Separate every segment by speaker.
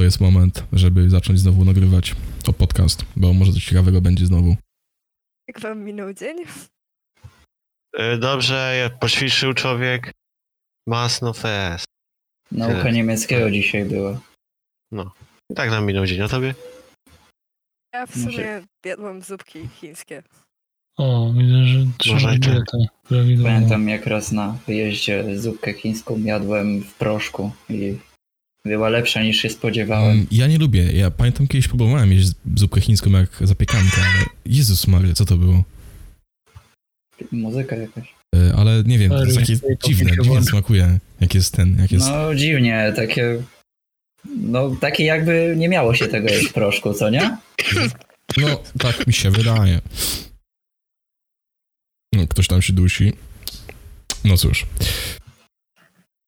Speaker 1: jest moment, żeby zacząć znowu nagrywać to podcast, bo może coś ciekawego będzie znowu.
Speaker 2: Jak wam minął dzień?
Speaker 3: Y, Dobrze, ja- poćwiczył człowiek. E Masno fest.
Speaker 4: Nauka
Speaker 3: Tyle. Tak.
Speaker 4: niemieckiego dzisiaj była.
Speaker 3: I tak nam minął dzień, a tobie?
Speaker 2: Ja w
Speaker 4: Może-
Speaker 2: sumie jadłam zupki chińskie.
Speaker 5: O, widzę, że
Speaker 3: Może
Speaker 5: trzyma
Speaker 3: i tak.
Speaker 5: dietę prawidłową.
Speaker 4: Pamiętam jak raz na wyjeździe zupkę chińską jadłem w proszku i była lepsza niż się spodziewałem.
Speaker 1: Mm, Ja nie lubię. Ja pamiętam kiedyś próbowałem jeść zupkę chińską jak zapiekankę, ale Jezus Maria, co to było?
Speaker 3: Mm.
Speaker 4: Muzyka jakaś.
Speaker 1: E, Ale nie wiem, to jest takie
Speaker 5: Sorry,
Speaker 1: dziwne,
Speaker 5: to
Speaker 1: dziwnie
Speaker 5: włącz-
Speaker 1: smakuje, jak jest ten,
Speaker 3: Tak
Speaker 1: jak jest...
Speaker 4: No dziwnie, takie... No takie jakby nie miało się tego jeść w proszku, co nie?
Speaker 1: No, tak mi się wydaje. No, ktoś tam się dusi. No cóż,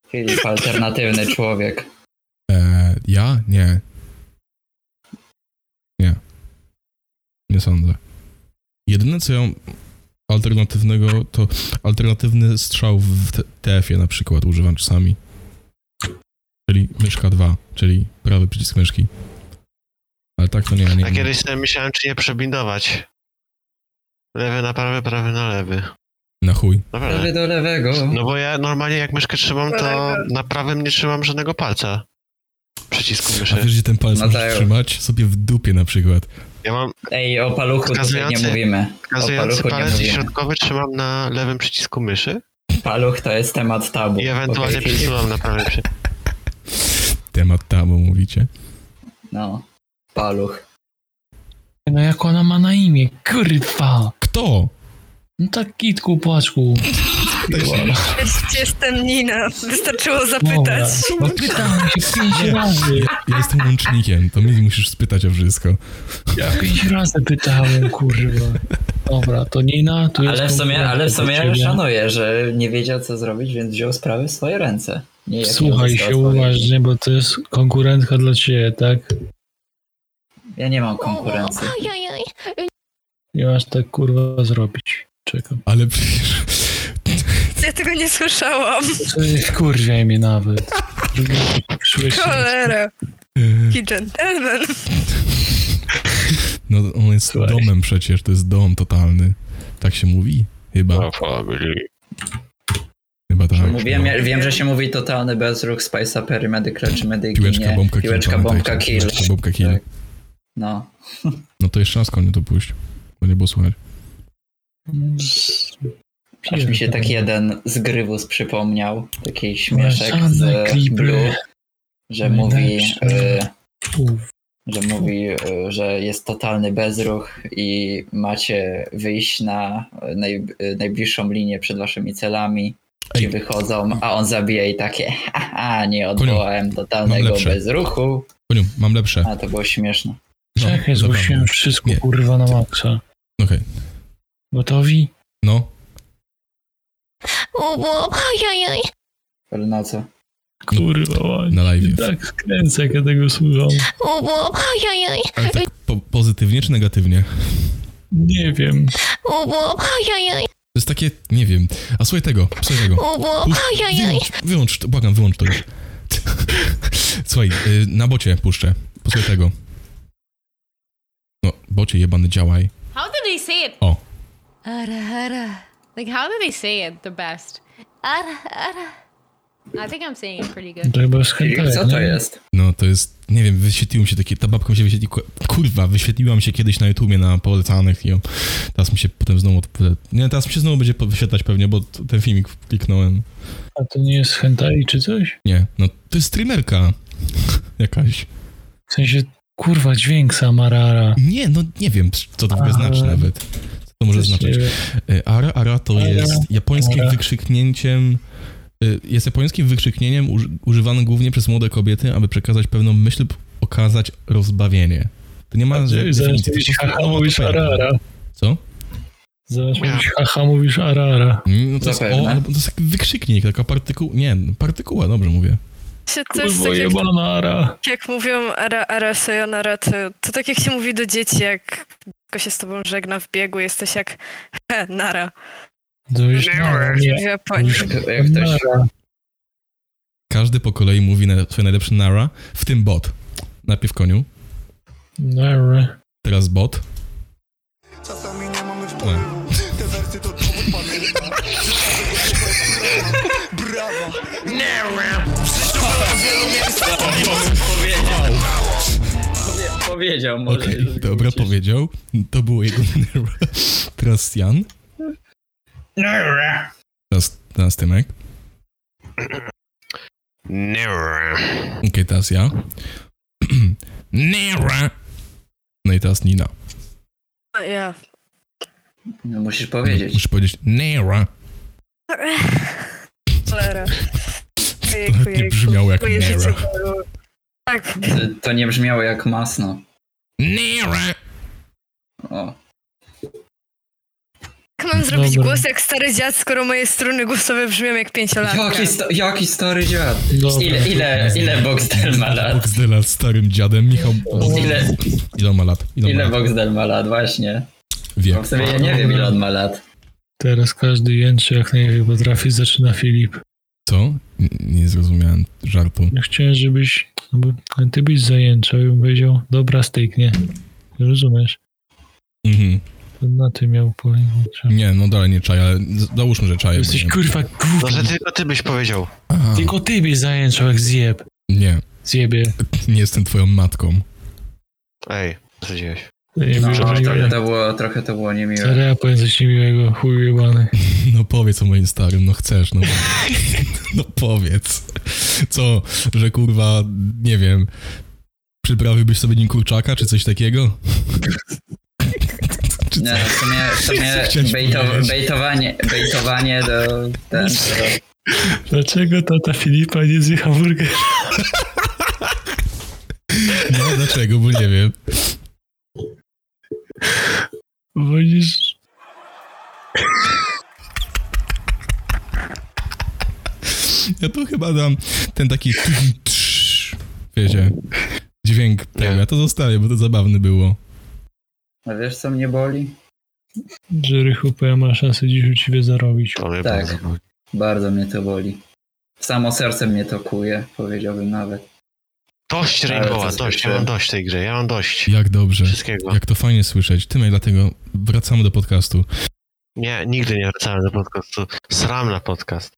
Speaker 4: Filip, alternatywny człowiek.
Speaker 1: e, ja? Nie. Nie. Nie sądzę. Jedyne co ja alternatywnego, to alternatywny strzał w T- TF-ie na przykład używam czasami. Czyli myszka 2, czyli prawy przycisk myszki. Ale tak to nie, nie.
Speaker 3: Ja kiedyś sobie myślałem, czy nie przebindować. Lewy na prawy, prawy na lewy.
Speaker 1: Na chuj.
Speaker 3: Naprawdę.
Speaker 4: Prawy do lewego.
Speaker 3: Tak. No bo ja normalnie jak myszkę trzymam, to na prawym nie trzymam żadnego palca. Przycisku
Speaker 1: A
Speaker 3: myszy.
Speaker 1: wiesz, gdzie ten palec
Speaker 4: Mateo.
Speaker 1: możesz trzymać? Sobie w dupie na przykład.
Speaker 3: Ja mam
Speaker 4: Ej, o paluchu tutaj nie
Speaker 3: Wskazujący-
Speaker 4: mówimy. O
Speaker 3: wskazujący
Speaker 4: paluchu nie
Speaker 3: palec i
Speaker 4: mówimy.
Speaker 3: środkowy trzymam na lewym przycisku myszy
Speaker 4: Paluch to jest temat tabu.
Speaker 3: i ewentualnie
Speaker 4: Okej, Filip.
Speaker 3: przesuwam na prawy przycisk.
Speaker 1: Temat tabu mówicie.
Speaker 4: No, paluch.
Speaker 5: No jak ona ma na imię? Kurwa!
Speaker 1: Kto?
Speaker 5: No tak kitku płaczku.
Speaker 2: Gdzie jest ten Nina? Wystarczyło
Speaker 5: Dobra.
Speaker 2: zapytać.
Speaker 5: No pytałem się
Speaker 1: Nie.
Speaker 5: pięć razy.
Speaker 1: Ja, ja jestem łącznikiem, to mi musisz spytać o wszystko.
Speaker 5: Pięć razy pytałem, kurwa. Dobra, to Nina, tu jest...
Speaker 4: Ale w sumie,
Speaker 5: konkretnie
Speaker 4: ale w
Speaker 5: do
Speaker 4: sumie
Speaker 5: ciebie.
Speaker 4: szanuję, że nie wiedział co zrobić, więc wziął sprawy w swoje ręce. Nie, jak nie
Speaker 5: Słuchaj
Speaker 4: uzyskał
Speaker 5: się
Speaker 4: odpowiedzi.
Speaker 5: uważnie, bo to jest konkurentka dla ciebie, tak?
Speaker 4: Ja nie mam konkurencji.
Speaker 6: Ojojoj.
Speaker 5: Nie masz tak kurwa zrobić. Czekam.
Speaker 1: Ale przecież...
Speaker 2: Ja tego nie słyszałam.
Speaker 5: Co jest kurwa mi nawet. Szłyś-
Speaker 2: Cholera. Jaki gentleman.
Speaker 1: No on jest
Speaker 5: Słuchaj.
Speaker 1: domem przecież, to jest dom totalny. Tak się mówi? Chyba.
Speaker 5: No,
Speaker 1: Chyba tak.
Speaker 4: Mówiłem,
Speaker 1: No.
Speaker 4: ja, wiem, że się mówi totalny bezruch, spice upery, medical czy medyginie.
Speaker 1: Piłeczka, bombka,
Speaker 4: Piłeczka,
Speaker 1: kill.
Speaker 4: bombka,
Speaker 1: pamiętajcie.
Speaker 4: kill.
Speaker 1: Piłeczka, bombka, kill.
Speaker 4: Tak. No.
Speaker 1: No to jeszcze raz konie to puść, bo nie było słychać.
Speaker 5: Mm,
Speaker 4: Aż mi się tak taki jeden z Grywus przypomniał, taki śmieszek
Speaker 5: Żadne
Speaker 4: z
Speaker 5: klipy.
Speaker 4: Blue, że mówi...
Speaker 5: Najlepsze.
Speaker 4: y, że mówi, y, że jest totalny bezruch i macie wyjść na y, naj, y, najbliższą linię przed waszymi celami.
Speaker 1: Ej.
Speaker 4: I wychodzą, a on zabija i takie, haha, nie odwołałem
Speaker 1: mam
Speaker 4: totalnego
Speaker 1: lepsze.
Speaker 4: bezruchu.
Speaker 1: Koniu, mam lepsze.
Speaker 4: A to było śmieszne.
Speaker 1: No,
Speaker 5: Czekaj,
Speaker 1: zapraszam.
Speaker 5: zgłosiłem wszystko
Speaker 1: Nie.
Speaker 5: kurwa na maksa.
Speaker 1: Okej.
Speaker 5: Gotowi?
Speaker 1: No,
Speaker 6: Ubo, ojojoj.
Speaker 4: Ale na co?
Speaker 1: No.
Speaker 5: Kurwa, ładnie.
Speaker 1: na live.
Speaker 5: Tak skręcę, jak ja tego słucham.
Speaker 6: Ubo, ojojoj.
Speaker 1: Ale tak po pozytywnie czy negatywnie?
Speaker 5: Nie wiem.
Speaker 6: Ubo, ojojoj.
Speaker 1: To jest takie, nie wiem. A słuchaj tego, słuchaj tego.
Speaker 6: Ubo,
Speaker 1: Puść,
Speaker 6: ojojoj.
Speaker 1: wyłącz, wyłącz, to, błagam, wyłącz to już. Słuchaj, y, na bocie puszczę. Posłuchaj tego. No, bocie jebany, działaj.
Speaker 7: How do they say it?
Speaker 1: O.
Speaker 7: Ara, ara. Like, how do they say it the best?
Speaker 6: Ara, ara.
Speaker 7: I think I'm saying it pretty good.
Speaker 5: To chyba
Speaker 4: Filip,
Speaker 5: skręcę.
Speaker 4: co to jest?
Speaker 1: Tak, No, to jest, nie wiem, wyświetliło mi się takie, ta babka mi się wyświetliła, kurwa, wyświetliła mi się kiedyś na YouTubie na polecanych i o, teraz mi się potem znowu, odp- nie, teraz mi się znowu będzie po- wyświetlać pewnie, bo t- ten filmik kliknąłem.
Speaker 5: A to nie jest hentai czy coś?
Speaker 1: Nie, no, to jest streamerka jakaś.
Speaker 5: W sensie, kurwa, dźwięk sama rara.
Speaker 1: Nie, no, nie wiem, co to w ogóle
Speaker 5: Ale-
Speaker 1: znaczy nawet. Co to może
Speaker 5: Też nie
Speaker 1: znaczyć?
Speaker 5: wiem.
Speaker 1: E, Ara, ara to
Speaker 5: Ara,
Speaker 1: jest japońskim
Speaker 5: ara.
Speaker 1: wykrzyknięciem. y, Jest japońskim wykrzyknieniem uży, używanym głównie przez młode kobiety, aby przekazać pewną myśl lub okazać rozbawienie. To nie ma że-
Speaker 5: Zaraz
Speaker 1: definicji, to
Speaker 5: mówisz
Speaker 1: po prostu
Speaker 5: haha, mówisz
Speaker 1: onomatopeja.
Speaker 5: arara.
Speaker 1: Co?
Speaker 5: Zaraz mówisz haha, mówisz arara.
Speaker 1: Mm, No to, jest, o,
Speaker 4: Zapewne.
Speaker 1: ale to jest taki wykrzyknik, taka partykuła. Nie, partykuła, dobrze mówię.
Speaker 2: Się coś
Speaker 5: Kurwa,
Speaker 2: tak jak,
Speaker 5: jebana ara.
Speaker 2: jak mówią ara, ara, sayonara, to, to tak jak się mówi do dzieci, jak tylko się z tobą żegna w biegu, jesteś jak he, nara.
Speaker 5: To już
Speaker 2: W
Speaker 5: nie.
Speaker 2: Japonii.
Speaker 4: Jak, jak
Speaker 1: No.
Speaker 4: ktoś...
Speaker 5: Nara.
Speaker 1: Każdy po kolei mówi na, swoje najlepsze nara, w tym bot. Najpierw koniu,
Speaker 5: Dobra.
Speaker 1: teraz bot. Tak.
Speaker 8: Czasami nie mamy wpływu Te wersy to dowód pamięta Brawa
Speaker 9: Powiedział, może.
Speaker 1: Okej, dobra, powiedział. To było jego nerwa. Teraz Jan. Teraz, teraz Tymek.
Speaker 3: Never.
Speaker 1: Okej, teraz ja. Nera. No i teraz Nina.
Speaker 2: A ja.
Speaker 4: No, musisz powiedzieć.
Speaker 1: Muszę powiedzieć Nera.
Speaker 2: Cholera.
Speaker 1: To nawet nie brzmiało jak
Speaker 2: Moje życie
Speaker 1: Nera.
Speaker 2: było- Tak,
Speaker 4: To nie brzmiało jak masno.
Speaker 1: Nera.
Speaker 4: O.
Speaker 2: jak mam zrobić
Speaker 5: Dobra.
Speaker 2: głos jak stary dziad, skoro moje struny głosowe brzmią jak pięciolatka?
Speaker 4: Jaki, sto, jaki stary dziad.
Speaker 5: Dobra.
Speaker 4: Ile, ile, ile Boxdel ma lat?
Speaker 1: Boxdela z starym dziadem. Michał.
Speaker 4: Ile,
Speaker 1: Ile on ma lat? on ma
Speaker 4: ile
Speaker 1: lat?
Speaker 4: Boxdel ma lat? Właśnie.
Speaker 1: Wie.
Speaker 4: Bo w sumie ja nie wiem ile on ma lat.
Speaker 5: Teraz każdy jęczy jak najlepiej potrafi, zaczyna Filip.
Speaker 1: Co? N- Nie zrozumiałem żartu.
Speaker 5: No Chciałem, żebyś, no bo ty byś zajęczał i bym powiedział, dobra, styknie. Rozumiesz?
Speaker 1: Mhm.
Speaker 5: To Na tym miał polegać.
Speaker 1: Nie, no dalej nie czaję, ale z- załóżmy, że czaję.
Speaker 5: Jesteś
Speaker 1: bo nie-
Speaker 5: kurwa
Speaker 3: No, że
Speaker 5: głupi.
Speaker 3: tylko ty byś powiedział.
Speaker 1: Aha,
Speaker 5: Tylko ty byś zajęczał jak zjeb.
Speaker 1: Nie,
Speaker 5: Zjebie.
Speaker 1: nie jestem twoją matką.
Speaker 3: Ej, wstydziłeś.
Speaker 5: Zjebie.
Speaker 4: No, trochę
Speaker 5: No,
Speaker 4: to było, trochę to było niemiłe.
Speaker 5: Zaraz ja powiem coś niemiłego, chuj jebany.
Speaker 1: No powiedz o moim starym, no chcesz, no. No powiedz. Co, że kurwa, nie wiem, przyprawiłbyś sobie nim kurczaka, czy coś takiego? Czy
Speaker 4: Nie, no,
Speaker 1: co?
Speaker 4: w sumie, w sumie
Speaker 1: Chciałeś
Speaker 4: bejto,
Speaker 1: powiedzieć.
Speaker 4: bejtowanie, bejtowanie do... Ten, do
Speaker 5: Dlaczego tata Filipa nie zje hamburger?
Speaker 1: No dlaczego, bo nie wiem.
Speaker 5: Wolisz...
Speaker 1: Ja tu chyba dam ten taki trz, wiecie, dźwięk tego. Ja to zostawię, bo to zabawne było.
Speaker 4: a wiesz co mnie boli?
Speaker 5: Jerry Hooper ma szansę dziś u ciebie zarobić.
Speaker 3: To mnie
Speaker 4: Tak.
Speaker 3: bardzo boli.
Speaker 4: Bardzo mnie to boli. Samo serce mnie to kuje, powiedziałbym nawet.
Speaker 3: Dość
Speaker 4: Ale
Speaker 3: Rainbowa,
Speaker 4: co
Speaker 3: dość. Ja
Speaker 4: skończyłem?
Speaker 3: mam dość tej gry, ja mam dość.
Speaker 1: Jak dobrze.
Speaker 3: Wszystkiego.
Speaker 1: Jak to fajnie słyszeć. Tym dlatego wracamy do podcastu.
Speaker 3: Nie, nigdy nie wracałem do podcastu. Sram na podcast,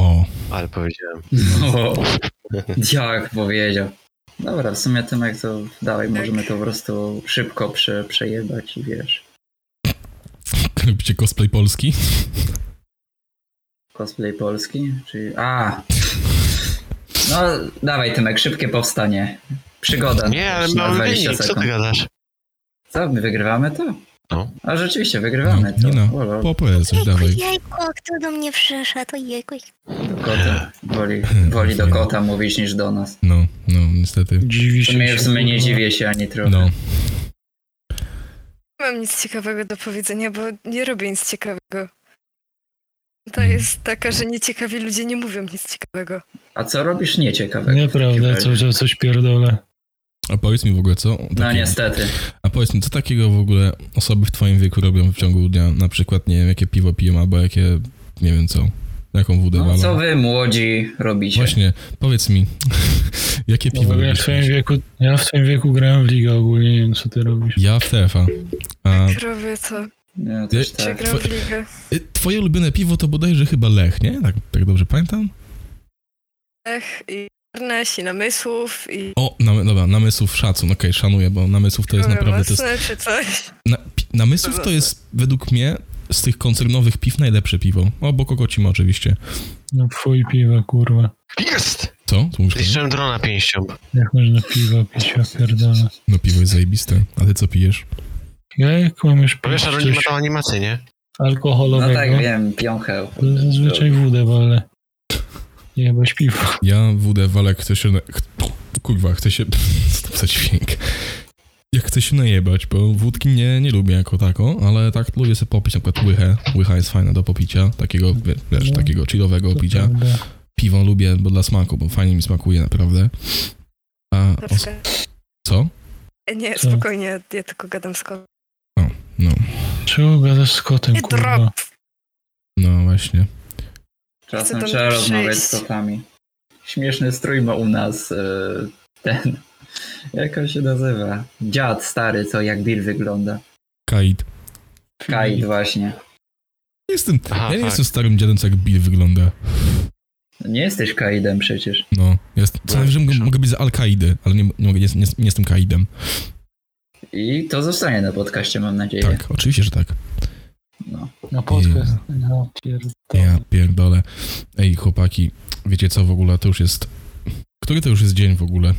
Speaker 1: O,
Speaker 3: ale powiedziałem.
Speaker 4: No, jak powiedział. Dobra, w sumie Tymek to dalej możemy to po prostu szybko prze, przejebać i wiesz,
Speaker 1: lubicie cosplay polski?
Speaker 4: cosplay polski, czyli... A! No, dawaj Tymek, szybkie powstanie. Przygoda.
Speaker 3: Nie, ale
Speaker 4: na
Speaker 3: mamy
Speaker 4: 20
Speaker 3: wynik, co ty
Speaker 4: sekund.
Speaker 3: gadasz?
Speaker 4: Co, my wygrywamy to?
Speaker 3: No.
Speaker 4: A rzeczywiście, wygrywamy
Speaker 1: No,
Speaker 4: to.
Speaker 1: Nina,
Speaker 4: O, lol,
Speaker 1: Popowiedz coś,
Speaker 6: Jejku,
Speaker 1: dawaj.
Speaker 6: jejku, kto do mnie przyszedł, jejku.
Speaker 4: do kota. Woli, woli do kota mówić niż do nas.
Speaker 1: No, no, niestety.
Speaker 5: Dziwi
Speaker 4: W
Speaker 5: się.
Speaker 4: sumie, w sumie nie
Speaker 5: kurwa.
Speaker 4: dziwię się ani trochę.
Speaker 1: No.
Speaker 2: Nie mam nic ciekawego do powiedzenia, bo nie robię nic ciekawego. To
Speaker 1: Mhm.
Speaker 2: jest taka, że nieciekawi ludzie nie mówią nic ciekawego.
Speaker 4: A co robisz nieciekawego?
Speaker 5: Nieprawda,
Speaker 4: tak.
Speaker 5: cały czas coś pierdolę.
Speaker 1: A powiedz mi w ogóle, co?
Speaker 4: No
Speaker 1: takiego-
Speaker 4: niestety.
Speaker 1: A powiedz mi, co takiego w ogóle osoby w twoim wieku robią w ciągu dnia? Na przykład, nie wiem, jakie piwo piją, albo jakie, nie wiem co, jaką wódę
Speaker 4: No,
Speaker 1: walą.
Speaker 4: co wy młodzi robicie?
Speaker 1: Właśnie, powiedz mi, jakie
Speaker 5: No,
Speaker 1: piwo
Speaker 5: bo ja, w
Speaker 1: lubisz
Speaker 5: twoim
Speaker 1: pić?
Speaker 5: wieku, ja w twoim wieku grałem w ligę ogólnie, nie wiem co ty robisz.
Speaker 1: Ja w TFA. A
Speaker 2: Jak robię to?
Speaker 4: No, też
Speaker 1: Ty-
Speaker 4: tak.
Speaker 2: Przegram w ligę.
Speaker 1: y, twoje ulubione piwo to bodajże chyba Lech, nie? Tak, tak dobrze pamiętam?
Speaker 2: Ech i Arnes i namysłów i...
Speaker 1: O, na, dobra, namysłów szacun, okej, szanuję, bo namysłów to jest
Speaker 2: Mówię
Speaker 1: naprawdę... To jest,
Speaker 2: mocne czy coś.
Speaker 1: na, pi- namysłów to jest, według mnie, z tych koncernowych piw najlepsze piwo. Obok kokocima oczywiście.
Speaker 5: No twój piwa, kurwa.
Speaker 3: Jest!
Speaker 1: Co? Tu mówisz,
Speaker 3: Zniszczyłem drona pięścią.
Speaker 5: Jak można piwa pić, ja pierdolę.
Speaker 1: No piwo jest zajebiste. A ty co pijesz?
Speaker 5: Ja jak mam już
Speaker 3: Bo No wiesz,
Speaker 5: pić
Speaker 3: ale nie ma
Speaker 5: coś
Speaker 3: tam animacji, nie?
Speaker 5: alkoholowego,
Speaker 4: No tak, wiem, piącheł.
Speaker 5: to zazwyczaj wódę, ale nie boś piwo.
Speaker 1: Ja wódę walę, chcę się... Na... ch- Kurwa, chcę się... Stop za dźwięk. Ja chcę się najebać, bo wódki nie, nie lubię jako tako, ale tak lubię sobie popić na przykład łychę. Łycha jest fajna do popicia, takiego, wie- wiesz,
Speaker 5: No.
Speaker 1: takiego chillowego
Speaker 5: To
Speaker 1: picia.
Speaker 5: prawda.
Speaker 1: Piwo lubię, bo dla smaku, bo fajnie mi smakuje naprawdę. A os-
Speaker 2: Zawsze.
Speaker 1: co?
Speaker 2: Nie,
Speaker 5: Co?
Speaker 2: spokojnie, ja tylko gadam z kolegą.
Speaker 5: Czemu gadasz z kotem,
Speaker 2: Nie
Speaker 5: kurwa?
Speaker 2: drop.
Speaker 1: No właśnie.
Speaker 4: Czasem
Speaker 2: Chcę tam
Speaker 4: trzeba rozmawiać
Speaker 2: przyjść.
Speaker 4: z kotami. Śmieszny strój ma u nas e, y, ten Jak on się nazywa? Dziad stary, co jak Bill wygląda.
Speaker 1: Kaid.
Speaker 5: Hmm.
Speaker 4: Kaid właśnie.
Speaker 1: Jestem,
Speaker 3: Aha,
Speaker 1: ja nie
Speaker 3: tak.
Speaker 1: jestem starym dziadem, co jak Bill wygląda.
Speaker 4: Nie jesteś Kaidem przecież.
Speaker 1: No, jest, co
Speaker 3: Tak,
Speaker 1: najwyżej mogę,
Speaker 3: szanuję.
Speaker 1: mogę być za Al-Kaidy, ale nie, nie, mogę, nie, nie, nie jestem Kaidem.
Speaker 4: I to zostanie na podcaście, mam nadzieję.
Speaker 1: Tak, oczywiście, że tak.
Speaker 5: Na podcast. No, pierdolę.
Speaker 1: Ja pierdolę. Ej, chłopaki, wiecie co w ogóle, to już jest... Który to już jest dzień w ogóle?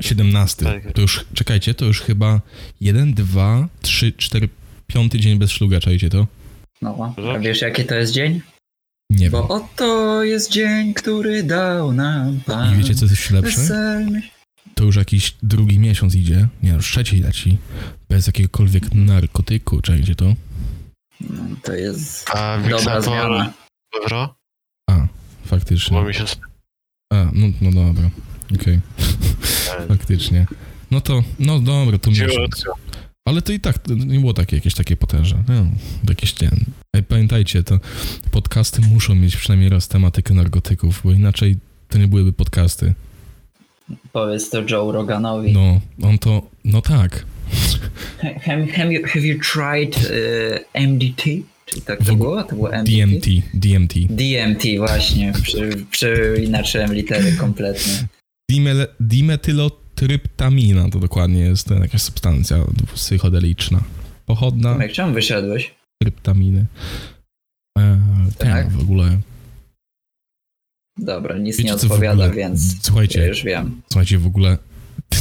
Speaker 1: 17.
Speaker 3: Tak.
Speaker 1: To już, czekajcie, to już chyba 1, 2, 3, 4, 5 dzień bez szluga, czajcie to?
Speaker 4: No. A wiesz jaki to jest dzień?
Speaker 1: Nie wiem.
Speaker 4: Bo oto jest dzień, który dał nam Pan.
Speaker 1: I wiecie, co jest jeszcze lepsze?
Speaker 4: Weselny
Speaker 1: to już jakiś drugi miesiąc idzie, nie już trzeci leci, bez jakiegokolwiek narkotyku, czajcie to?
Speaker 4: No, to jest
Speaker 3: A
Speaker 4: dobra
Speaker 3: Wiksator,
Speaker 4: zmiana.
Speaker 3: Wro, bo
Speaker 1: Faktycznie.
Speaker 3: mi się z-
Speaker 1: A, no, no dobra, okej,
Speaker 3: e,
Speaker 1: faktycznie. No to, no dobra, to miesiąc.
Speaker 3: ciutko.
Speaker 1: Ale to i tak, to nie było takie jakieś takie potężne. No, jakieś, nie, Ej, pamiętajcie, to podcasty muszą mieć przynajmniej raz tematykę narkotyków, bo inaczej to nie byłyby podcasty.
Speaker 4: Powiedz to Joe Roganowi.
Speaker 1: No, on to, no tak.
Speaker 4: He- Have, have, you, have you tried e, MDT? Czy tak to
Speaker 1: W-
Speaker 4: było? To było MDT?
Speaker 1: DMT, DMT.
Speaker 4: DMT, właśnie. Przy, przyinaczyłem litery kompletnie.
Speaker 1: Dimele, dimetylotryptamina to dokładnie jest ten, jakaś substancja psychodeliczna. Pochodna
Speaker 4: Tomek, czemu wyszedłeś?
Speaker 1: tryptaminy. E, ten
Speaker 4: Tak?
Speaker 1: w ogóle.
Speaker 4: Dobra, nic nie
Speaker 1: Wiecie, co w
Speaker 4: odpowiada,
Speaker 1: ogóle?
Speaker 4: więc ja
Speaker 1: Słuchajcie,
Speaker 4: już wiem.
Speaker 1: słuchajcie, w ogóle.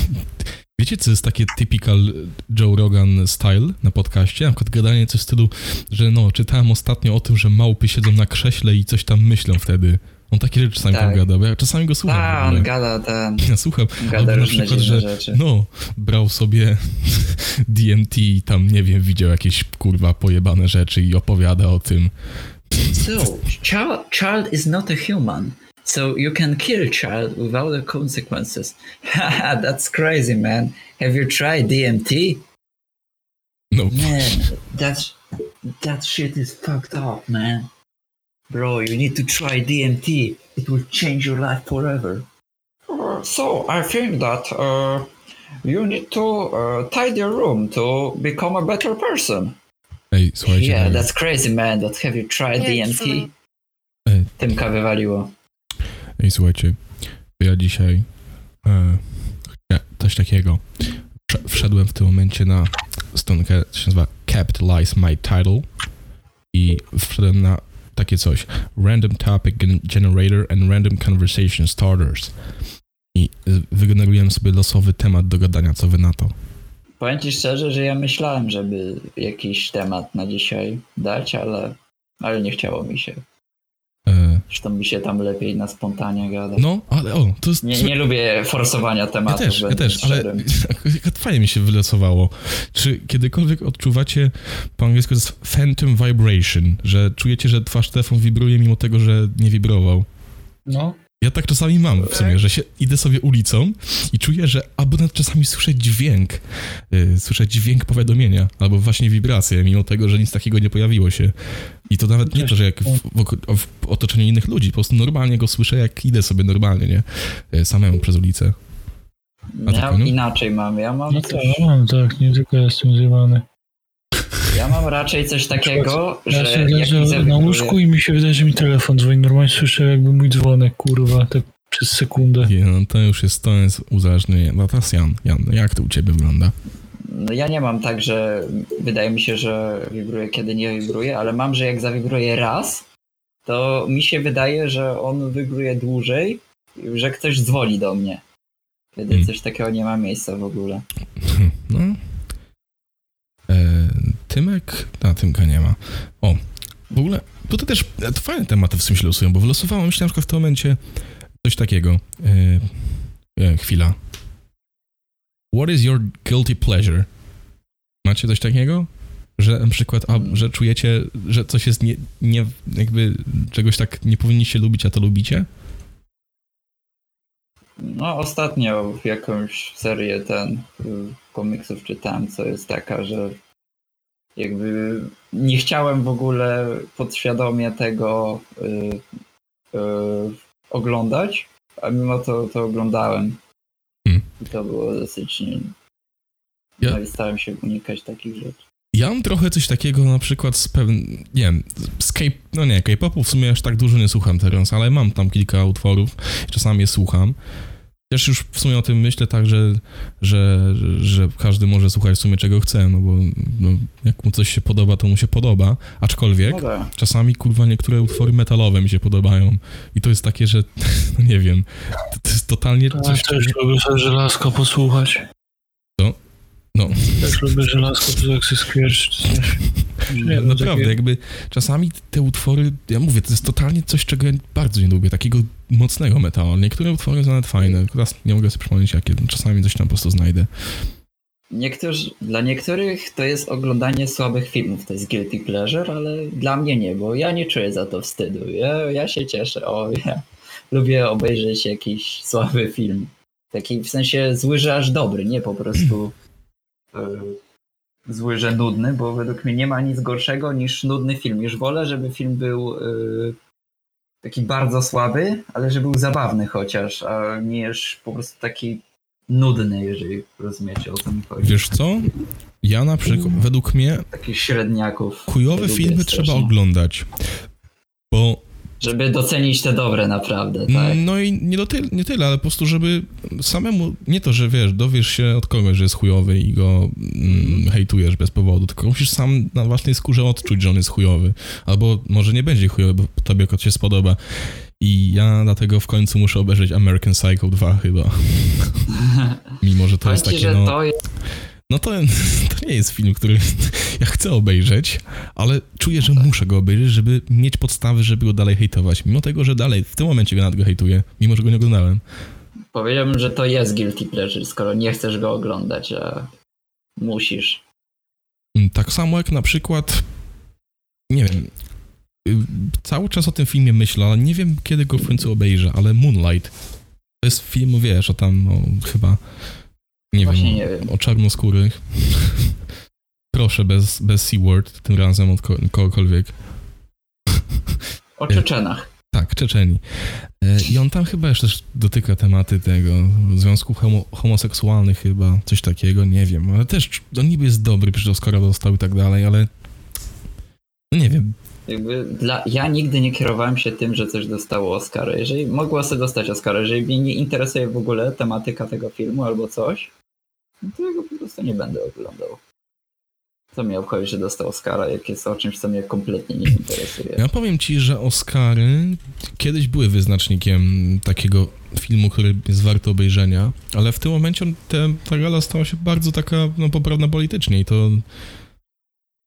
Speaker 1: Wiecie, co jest takie typical Joe Rogan style na podcaście? Na przykład gadanie coś w stylu, że no, czytałem ostatnio o tym, że małpy siedzą na krześle i coś tam myślą wtedy. On takie rzeczy czasami
Speaker 4: Tak.
Speaker 1: tam gada, bo ja czasami go słucham. w
Speaker 4: Ta,
Speaker 1: ogóle.
Speaker 4: on gada, ten,
Speaker 1: Ja słucham,
Speaker 4: gada
Speaker 1: Albo na
Speaker 4: różne
Speaker 1: przykład,
Speaker 4: dziwne
Speaker 1: że
Speaker 4: rzeczy.
Speaker 1: no, brał sobie DMT i tam, nie wiem, widział jakieś kurwa pojebane rzeczy i opowiada o tym.
Speaker 4: So, child, child is not a human. So you can kill child without the consequences. Haha, that's crazy, man. Have you tried DMT?
Speaker 1: No,
Speaker 4: Man, that's that shit is fucked up, man. Bro, you need to try DMT. It will change your life forever. So I think that uh, you need to uh, tidy your room to become a better person.
Speaker 1: ej, słuchajcie, no.
Speaker 4: yeah,
Speaker 1: ej,
Speaker 4: that's crazy, man. That have you tried
Speaker 2: Nie,
Speaker 4: DMT?
Speaker 1: Ej.
Speaker 4: Tymka wywaliło.
Speaker 1: ej, słuchajcie, ja dzisiaj e, chcia- coś takiego. Prze- Wszedłem w tym momencie na stronkę, co się nazywa Capitalize My Title i wszedłem na takie coś. Random Topic Gen- Generator and Random Conversation Starters. I y, wygenerowałem sobie losowy temat do gadania, co wy na to.
Speaker 4: Powiem ci szczerze, że ja myślałem, żeby jakiś temat na dzisiaj dać, ale, ale nie chciało mi się.
Speaker 1: E,
Speaker 4: Zresztą mi się tam lepiej na spontanie gada.
Speaker 1: No, ale o, to jest...
Speaker 4: Nie, nie lubię forsowania
Speaker 1: ja
Speaker 4: tematu.
Speaker 1: też, ja też, ale fajnie mi się wylosowało. Czy kiedykolwiek odczuwacie, po angielsku to jest phantom vibration, że czujecie, że wasz telefon wibruje mimo tego, że nie wibrował?
Speaker 5: No,
Speaker 1: Ja tak czasami mam w sumie, że się idę sobie ulicą i czuję, że albo nawet czasami słyszę dźwięk, yy, słyszę dźwięk powiadomienia, albo właśnie wibrację, mimo tego, że nic takiego nie pojawiło się. I to nawet nie to, że jak w, w, oko- w otoczeniu innych ludzi, po prostu normalnie go słyszę, jak idę sobie normalnie, nie? Yy, samemu przez ulicę. A tak, no. ty,
Speaker 4: Ja
Speaker 1: Koniu?
Speaker 4: inaczej mam. Ja mam,
Speaker 5: no to
Speaker 4: coś,
Speaker 5: ja mam tak, nie tylko jestem zjebany.
Speaker 4: ja mam raczej coś takiego,
Speaker 5: Ja
Speaker 4: że
Speaker 5: się
Speaker 4: jak widzę
Speaker 5: leżę na
Speaker 4: wybór-
Speaker 5: łóżku i mi się wydaje, że mi telefon dzwoni. Normalnie słyszę jakby mój dzwonek, kurwa, tak przez sekundę.
Speaker 1: Nie, no to już jest, to jest uzależnienie. No teraz Jan, Jan, jak to u ciebie wygląda?
Speaker 4: No ja nie mam tak, że wydaje mi się, że wibruje kiedy nie wibruje, ale mam, że jak zawibruje raz, to mi się wydaje, że on wibruje dłużej, że ktoś dzwoni do mnie. Kiedy
Speaker 1: Hmm.
Speaker 4: coś takiego nie ma miejsca w ogóle.
Speaker 1: No. E, Tymek? A, Tymka nie ma. O, w ogóle, tutaj też e, to fajne tematy w sumie się losują, bo wylosowało mi się na przykład w tym momencie coś takiego. E, e, chwila. What is your guilty pleasure? Macie coś takiego? Że na przykład, a, że czujecie, że coś jest nie, nie, jakby czegoś tak nie powinniście lubić, a to lubicie?
Speaker 4: No ostatnio jakąś serię ten y, komiksów czytałem, co jest taka, że jakby nie chciałem w ogóle podświadomie tego y, y, oglądać, a mimo to to oglądałem.
Speaker 1: Hmm.
Speaker 4: I to było dosyć... Nie...
Speaker 1: Ja-
Speaker 4: No i starałem się unikać takich rzeczy.
Speaker 1: Ja mam trochę coś takiego na przykład z pewnym, nie wiem, z- z K, no nie, K-popu w sumie aż tak dużo nie słucham teraz, ale mam tam kilka utworów, czasami je słucham. Też już w sumie o tym myślę tak, że, że, że każdy może słuchać w sumie czego chce, no bo no, jak mu coś się podoba, to mu się podoba, aczkolwiek
Speaker 4: No da.
Speaker 1: czasami kurwa niektóre utwory metalowe mi się podobają i to jest takie, że no nie wiem, to, to jest totalnie coś...
Speaker 5: Coś też lubię sobie żelazko posłuchać.
Speaker 1: Co? No.
Speaker 5: Też lubię żelazko, to jak się skwiercz, czy coś. Nie, no
Speaker 1: Naprawdę,
Speaker 5: takie-
Speaker 1: jakby czasami te utwory, ja mówię, to jest totalnie coś, czego ja bardzo nie lubię, takiego mocnego metalu. Niektóre utwory są nawet fajne, teraz nie mogę sobie przypomnieć jakie, no, czasami coś tam po prostu znajdę.
Speaker 4: Niektórzy, dla niektórych to jest oglądanie słabych filmów, to jest guilty pleasure, ale dla mnie nie, bo ja nie czuję za to wstydu. Ja, ja się cieszę, o ja lubię obejrzeć jakiś słaby film. Taki w sensie zły, że aż dobry, nie po prostu em, zły, że nudny, bo według mnie nie ma nic gorszego niż nudny film. Już wolę, żeby film był y, taki bardzo słaby, ale żeby był zabawny chociaż, a nie już po prostu taki nudny, jeżeli rozumiecie o co mi chodzi.
Speaker 1: Wiesz co? Ja na przykład, według mnie,
Speaker 4: takich średniaków.
Speaker 1: chujowe
Speaker 4: Lubię
Speaker 1: filmy
Speaker 4: strasznie.
Speaker 1: trzeba oglądać, bo
Speaker 4: Żeby docenić te dobre naprawdę, tak?
Speaker 1: No i nie, do ty- nie tyle, ale po prostu, żeby samemu, nie to, że wiesz, dowiesz się od kogoś, że jest chujowy i go mm, hejtujesz bez powodu, tylko musisz sam na własnej skórze odczuć, że on jest chujowy. Albo może nie będzie chujowy, bo tobie kot się spodoba. I ja dlatego w końcu muszę obejrzeć American Psycho 2 chyba. Mimo, że to
Speaker 4: Powiem
Speaker 1: jest
Speaker 4: ci,
Speaker 1: takie,
Speaker 4: że
Speaker 1: no...
Speaker 4: to jest...
Speaker 1: No to, to nie jest film, który ja chcę obejrzeć, ale czuję, że muszę go obejrzeć, żeby mieć podstawy, żeby go dalej hejtować. Mimo tego, że dalej w tym momencie go nad go hejtuję, mimo że go nie oglądałem.
Speaker 4: Powiedziałbym, że to jest guilty pleasure, skoro nie chcesz go oglądać, a musisz.
Speaker 1: Mm, Tak samo jak na przykład, nie wiem, y, cały czas o tym filmie myślę, ale nie wiem kiedy go w końcu obejrzę, ale Moonlight to jest film, wiesz, o tam o, chyba, nie
Speaker 4: Właśnie
Speaker 1: wiem,
Speaker 4: nie wiem.
Speaker 1: o czarnoskórych. Proszę, bez, bez C-word tym razem od ko- kogokolwiek.
Speaker 4: O Czeczenach.
Speaker 1: Tak, Czeczeni. E, I on tam chyba jeszcze dotyka tematy tego związku homo- homoseksualnych chyba, coś takiego, nie wiem. Ale też, no niby jest dobry, przecież Oscara dostał i tak dalej, ale no nie wiem.
Speaker 4: Jakby dla... Ja nigdy nie kierowałem się tym, że coś dostało Oscara. Jeżeli mogło sobie dostać Oscara, jeżeli mnie nie interesuje w ogóle tematyka tego filmu albo coś, no to ja go po prostu nie będę oglądał. Co mnie obchodzi, że dostał Oscara, jak jest o czymś, co mnie kompletnie nie interesuje.
Speaker 1: Ja powiem ci, że Oscary kiedyś były wyznacznikiem takiego filmu, który jest warty obejrzenia, ale w tym momencie on- te, ta gala stała się bardzo taka no, poprawna politycznie i to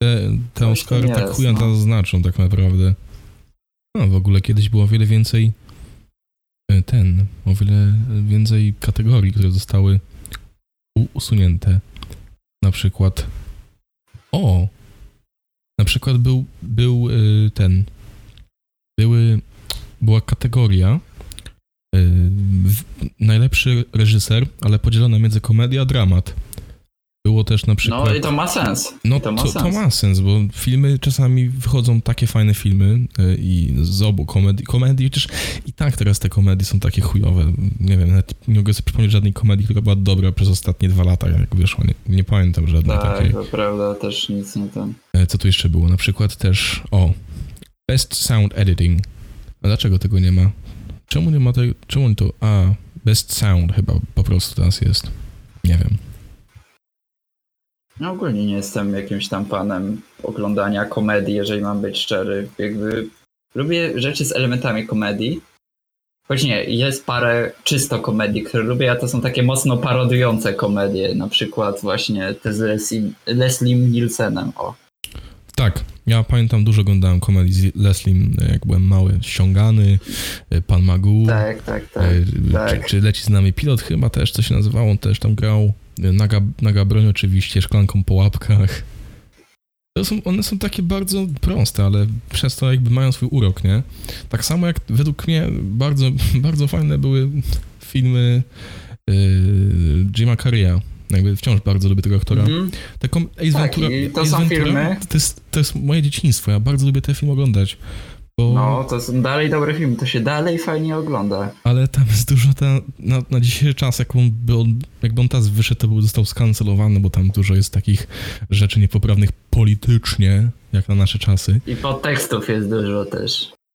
Speaker 1: te, te
Speaker 4: Coś tam
Speaker 1: Oscary tak
Speaker 4: jest,
Speaker 1: chuja
Speaker 4: no.
Speaker 1: nas znaczą tak naprawdę. No w ogóle kiedyś było o wiele więcej e, ten, o wiele więcej kategorii, które zostały u- usunięte. Na przykład o, na przykład był, był y, ten. Były, była kategoria y, w, najlepszy reżyser, ale podzielona między komedię a dramat. Było też na przykład.
Speaker 4: No i to ma sens.
Speaker 1: No
Speaker 4: I to ma
Speaker 1: to,
Speaker 4: sens.
Speaker 1: to ma sens, bo filmy czasami wychodzą takie fajne filmy y, i z obu komedii, komedii, chociaż i tak teraz te komedie są takie chujowe. Nie wiem, nawet nie mogę sobie przypomnieć żadnej komedii, która była dobra przez ostatnie dwa lata, jak wyszła. Nie, nie pamiętam żadnej
Speaker 4: Tak,
Speaker 1: takiej.
Speaker 4: to prawda, też nic nie tam.
Speaker 1: E, Co tu jeszcze było? Na przykład też, o, Best Sound Editing. A dlaczego tego nie ma? Czemu nie ma tego, czemu on to, a, Best Sound chyba po prostu teraz jest. Nie wiem.
Speaker 4: No ogólnie nie jestem jakimś tam panem oglądania komedii, jeżeli mam być szczery. Jakby lubię rzeczy z elementami komedii. Choć nie, jest parę czysto komedii, które lubię, a to są takie mocno parodujące komedie. Na przykład właśnie te z Leslie, Leslie Nielsenem. O,
Speaker 1: Tak, ja pamiętam, dużo oglądałem komedii z Leslim, jak byłem mały. Ściągany, e, Pan Magu,
Speaker 4: tak, tak, tak.
Speaker 1: e,
Speaker 4: tak.
Speaker 1: Czy, czy Leci z nami pilot chyba też, co się nazywało, on też tam grał. E, Naga, naga broń oczywiście, szklanką po łapkach. To są, one są takie bardzo proste, ale przez to jakby mają swój urok, nie? Tak samo jak według mnie bardzo, bardzo fajne były filmy yy, Jima Carreya. Jakby wciąż bardzo lubię tego aktora.
Speaker 4: Mhm.
Speaker 1: Te kom- Ace
Speaker 4: Tak,
Speaker 1: Ventura,
Speaker 4: i to
Speaker 1: Ace
Speaker 4: są
Speaker 1: Ventura
Speaker 4: filmy.
Speaker 1: To jest, to jest moje dzieciństwo, ja bardzo lubię ten film oglądać. Bo,
Speaker 4: No, to są dalej dobry film, to się dalej fajnie ogląda.
Speaker 1: Ale tam jest dużo ta, na, na dzisiejszy czas, jak on, by on, jakby on teraz wyszedł, to był, został skancelowany, bo tam dużo jest takich rzeczy niepoprawnych politycznie, jak na nasze czasy.
Speaker 4: I podtekstów jest dużo też.